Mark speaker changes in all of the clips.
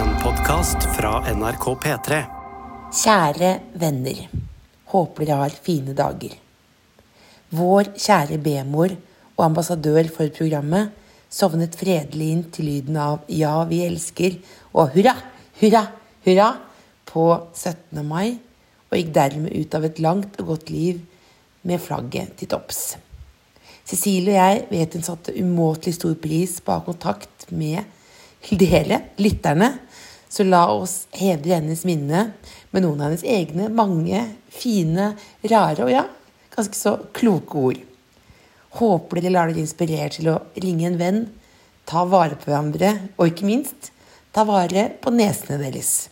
Speaker 1: podkast fra NRK P3.
Speaker 2: Kjære venner. Håper dere har fine dager. Vår kjære B-mor og ambassadør for programmet sovnet fredelig inn til lyden av 'Ja, vi elsker' og 'Hurra, hurra, hurra' på 17. mai, og gikk dermed ut av et langt og godt liv med flagget til topps. Cecilie og jeg vet hun satte umåtelig stor pris på å ha kontakt med dere, lytterne, så la oss hedre hennes minne med noen av hennes egne mange fine, rare og ja, ganske så kloke ord. Håper dere lar dere inspirere til å ringe en venn, ta vare på hverandre, og ikke minst ta vare på nesene deres.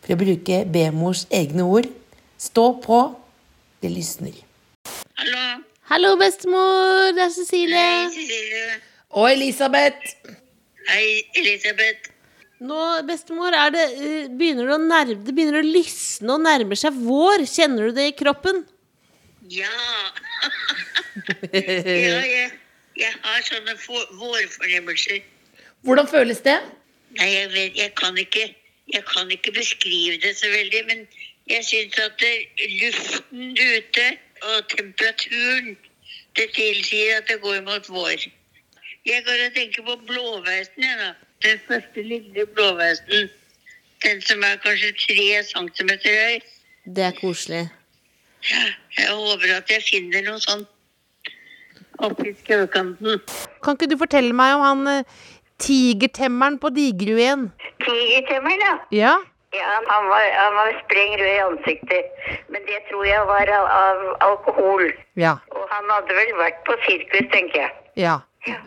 Speaker 2: For å bruke B-mors egne ord stå på, det lysner.
Speaker 3: Hallo.
Speaker 4: Hallo, bestemor. Det er
Speaker 3: Hei,
Speaker 4: Cecilie.
Speaker 3: Cecilie.
Speaker 2: Og Elisabeth!
Speaker 3: Hei, Elisabeth.
Speaker 4: Nå, bestemor, er det, eh, begynner det, å nærme, det begynner å lysne og nærmer seg vår. Kjenner du det i kroppen?
Speaker 3: Ja. ja jeg, jeg har sånne få- vårfornemmelser.
Speaker 2: Hvordan føles det?
Speaker 3: Nei, jeg vet Jeg kan ikke Jeg kan ikke beskrive det så veldig, men jeg syns at det, luften ute og temperaturen det tilsier at det går mot vår. Jeg går og tenker på blåveisen, jeg, da. Den første lille blåveisen. Den som er kanskje tre centimeter høy.
Speaker 4: Det er koselig.
Speaker 3: Jeg håper at jeg finner noe sånt oppi skaukanten.
Speaker 4: Kan ikke du fortelle meg om han eh, tigertemmeren på Digerud igjen?
Speaker 5: Tigertemmer, da.
Speaker 4: Ja?
Speaker 5: Ja, han var, han var spreng rød i ansiktet. Men det tror jeg var av, av alkohol.
Speaker 4: Ja.
Speaker 5: Og han hadde vel vært på sirkus, tenker jeg.
Speaker 4: ja.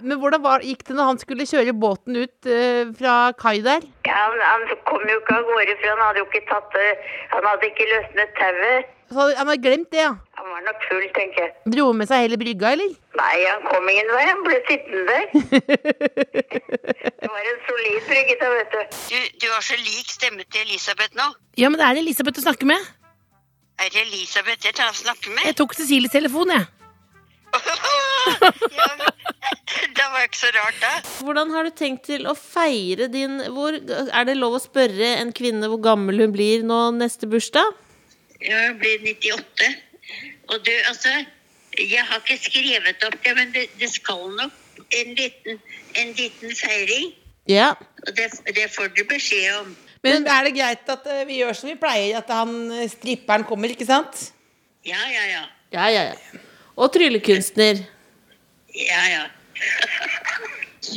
Speaker 4: Men hvordan var, gikk det når han skulle kjøre båten ut eh, fra kai der?
Speaker 5: Ja, han, han kom jo ikke av gårde, for han hadde jo ikke tatt det Han hadde ikke løsnet tauet.
Speaker 4: Så Altså, han- han har glemt det, ja.
Speaker 5: Han var nok full, tenker jeg.
Speaker 4: Dro han med seg hele brygga, eller?
Speaker 5: Nei, han kom ingen vei. Han ble sittende der. Det var en solid brygge, da, vet du.
Speaker 3: Du, du har så lik stemme til Elisabeth nå.
Speaker 6: Ja, men det er Elisabeth du snakker med.
Speaker 3: Er det Elisabeth jeg tar og snakker med?
Speaker 6: Jeg tok Cecilies telefon, jeg.
Speaker 3: ja, men- det var ikke så rart, da.
Speaker 4: Hvordan har du tenkt til å feire din hvor, Er det lov å spørre en kvinne hvor gammel hun blir nå neste bursdag?
Speaker 3: Jeg blir 98. Og du, altså Jeg har ikke skrevet opp det, men det, det skal nok en liten, en liten feiring.
Speaker 4: Ja.
Speaker 3: Og det, det får du beskjed om.
Speaker 2: Men er det greit at eh, vi gjør som vi pleier, at han eh, stripperen kommer, ikke sant?
Speaker 3: Ja, ja, ja.
Speaker 4: Ja, ja, ja. Og tryllekunstner.
Speaker 3: Ja, ja.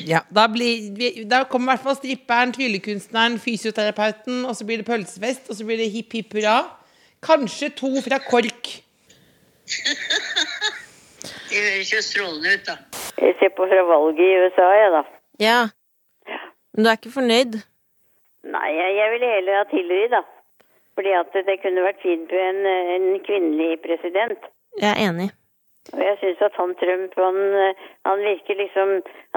Speaker 2: Ja. Da, blir, vi- da kommer i hvert fall stripperen, tryllekunstneren, fysioterapeuten, og så blir det pølsefest, og så blir det hipp hipp hurra. Kanskje to fra KORK.
Speaker 3: Det høres jo strålende ut, da.
Speaker 5: Jeg ser på fra valget i USA, jeg, da.
Speaker 4: Ja. Men du er ikke fornøyd?
Speaker 5: Nei, jeg, jeg ville heller ha Hillary, da. Fordi at det kunne vært fint med en, en kvinnelig president.
Speaker 4: Jeg er enig.
Speaker 5: Og jeg syns at han Trump, han, han virker liksom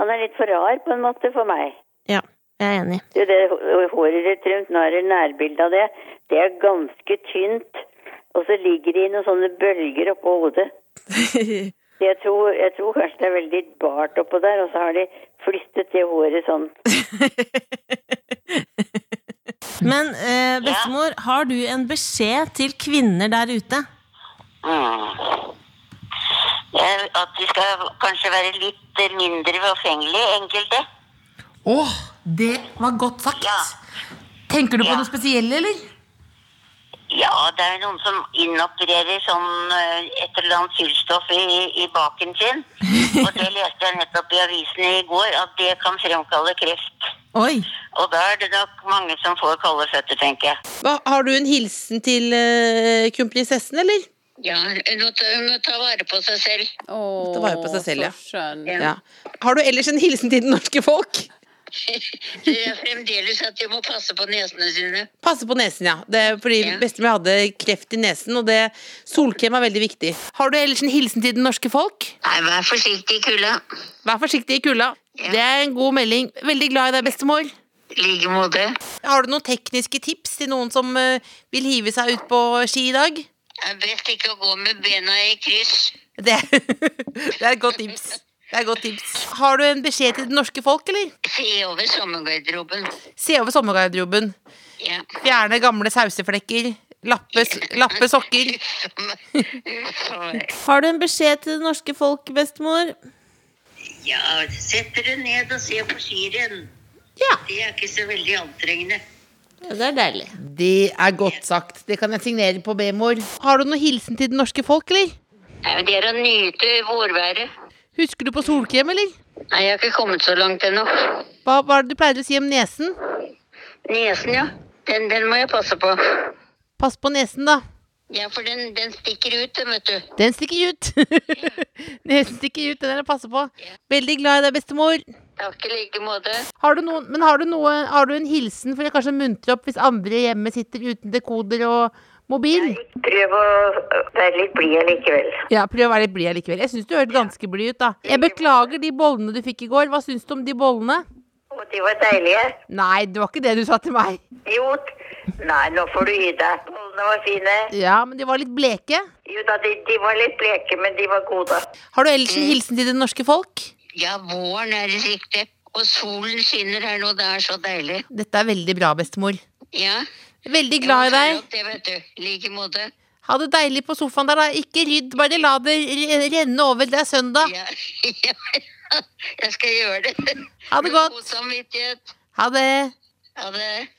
Speaker 5: Han er litt for rar, på en måte, for meg.
Speaker 4: Ja, jeg er enig.
Speaker 5: Du, det hå- håret til Trump, nå er det nærbilde av det. Det er ganske tynt. Og så ligger det i noen sånne bølger oppå hodet. Jeg tror, jeg tror kanskje det er veldig bart oppå der, og så har de flyttet det håret sånn.
Speaker 4: Men eh, bestemor, har du en beskjed til kvinner der ute?
Speaker 5: At de skal kanskje være litt mindre forfengelige, enkelte.
Speaker 6: Åh, det var godt sagt. Tenker du på noe spesielt, eller?
Speaker 5: Ja, det er jo noen som inopererer sånn eh, et eller annet fyllstoff i, i baken sin. Og det leste jeg nettopp i avisen i går, at det kan fremkalle kreft.
Speaker 4: Oi.
Speaker 5: Og da er det nok mange som får kalde føtter, tenker jeg.
Speaker 2: Hva, har du en hilsen til eh, kronprinsessen, eller?
Speaker 3: Ja, hun må, ta, hun må ta vare på seg selv.
Speaker 7: Åh,
Speaker 2: ta vare på seg selv, ja.
Speaker 7: så skjønn.
Speaker 2: Ja. Har du ellers en hilsen til det norske folk?
Speaker 3: Det er fremdeles at de må passe på nesene sine.
Speaker 2: Passe på nesen, ja. Det er fordi
Speaker 3: Ja.
Speaker 2: bestemor hadde kreft i nesen, og det, solkrem er veldig viktig. Har du ellers en hilsen til det norske folk?
Speaker 3: Nei, vær forsiktig i kulda.
Speaker 2: Vær forsiktig i kulda. Det er en god melding. Veldig glad i deg, bestemor.
Speaker 3: I like måte.
Speaker 2: Har du noen tekniske tips til noen som eh, vil hive seg ut på ski i dag?
Speaker 3: Det er best ikke å gå med bena i kryss.
Speaker 2: Det, det er et godt tips.
Speaker 4: Det er et godt tips. Har du en beskjed til det norske folk, eller?
Speaker 3: Se over sommergarderoben.
Speaker 4: Se over sommergarderoben.
Speaker 3: Ja.
Speaker 4: Fjerne gamle sauseflekker. Lappe, s- lappe sokker.
Speaker 3: Uff, og-
Speaker 2: Har du en beskjed til det norske folk, bestemor?
Speaker 3: ja, sett dere ned og se på skirenn.
Speaker 2: Ja.
Speaker 3: Det er ikke så veldig anstrengende.
Speaker 2: Ja, Det er deilig.
Speaker 4: Det er godt sagt. Det kan jeg signere på B-mor. Har du noen hilsen til det norske folk, eller?
Speaker 3: Nei, men Det er å nyte vårværet.
Speaker 4: Husker du på solkrem, eller?
Speaker 3: Nei, jeg har ikke kommet så langt ennå.
Speaker 4: Hva, hva er det du pleier å si om nesen?
Speaker 3: Nesen, ja. Den, den må jeg passe på.
Speaker 4: Pass på nesen, da.
Speaker 3: Ja, for den, den stikker ut, den, vet du.
Speaker 4: Den stikker ut. nesen stikker ut, den er det å passe på. Veldig glad i deg, bestemor.
Speaker 3: Takk i like måte.
Speaker 4: Har du noen, men har du, noe, har du en hilsen for å kanskje muntre opp hvis andre hjemme sitter uten dekoder og mobil?
Speaker 3: Prøv å være litt blid likevel.
Speaker 4: Ja, prøv å være litt blid allikevel. Jeg syns du hørtes ganske blid ut, da. Jeg beklager de bollene du fikk i går. Hva syns du om de bollene?
Speaker 3: Og de var deilige.
Speaker 4: Nei, det var ikke det du sa til meg.
Speaker 3: Jo. Nei, nå får du gi deg. Bollene var fine.
Speaker 4: Ja, men de var litt bleke.
Speaker 3: Jo da, de, de var litt bleke, men de var gode.
Speaker 4: Har du ellers en hilsen til det norske folk?
Speaker 3: Ja, våren er det riktig. Og solen skinner her nå, det er så deilig.
Speaker 4: Dette er veldig bra, bestemor.
Speaker 3: Ja.
Speaker 4: Veldig glad i deg.
Speaker 3: Det vet du. I like måte.
Speaker 4: Ha det deilig på sofaen der, da. Ikke rydd, bare la det re- renne over. Det er søndag.
Speaker 3: Ja. Jeg skal gjøre det.
Speaker 4: Ha det godt.
Speaker 3: God samvittighet.
Speaker 4: Ha det.
Speaker 3: Ha det.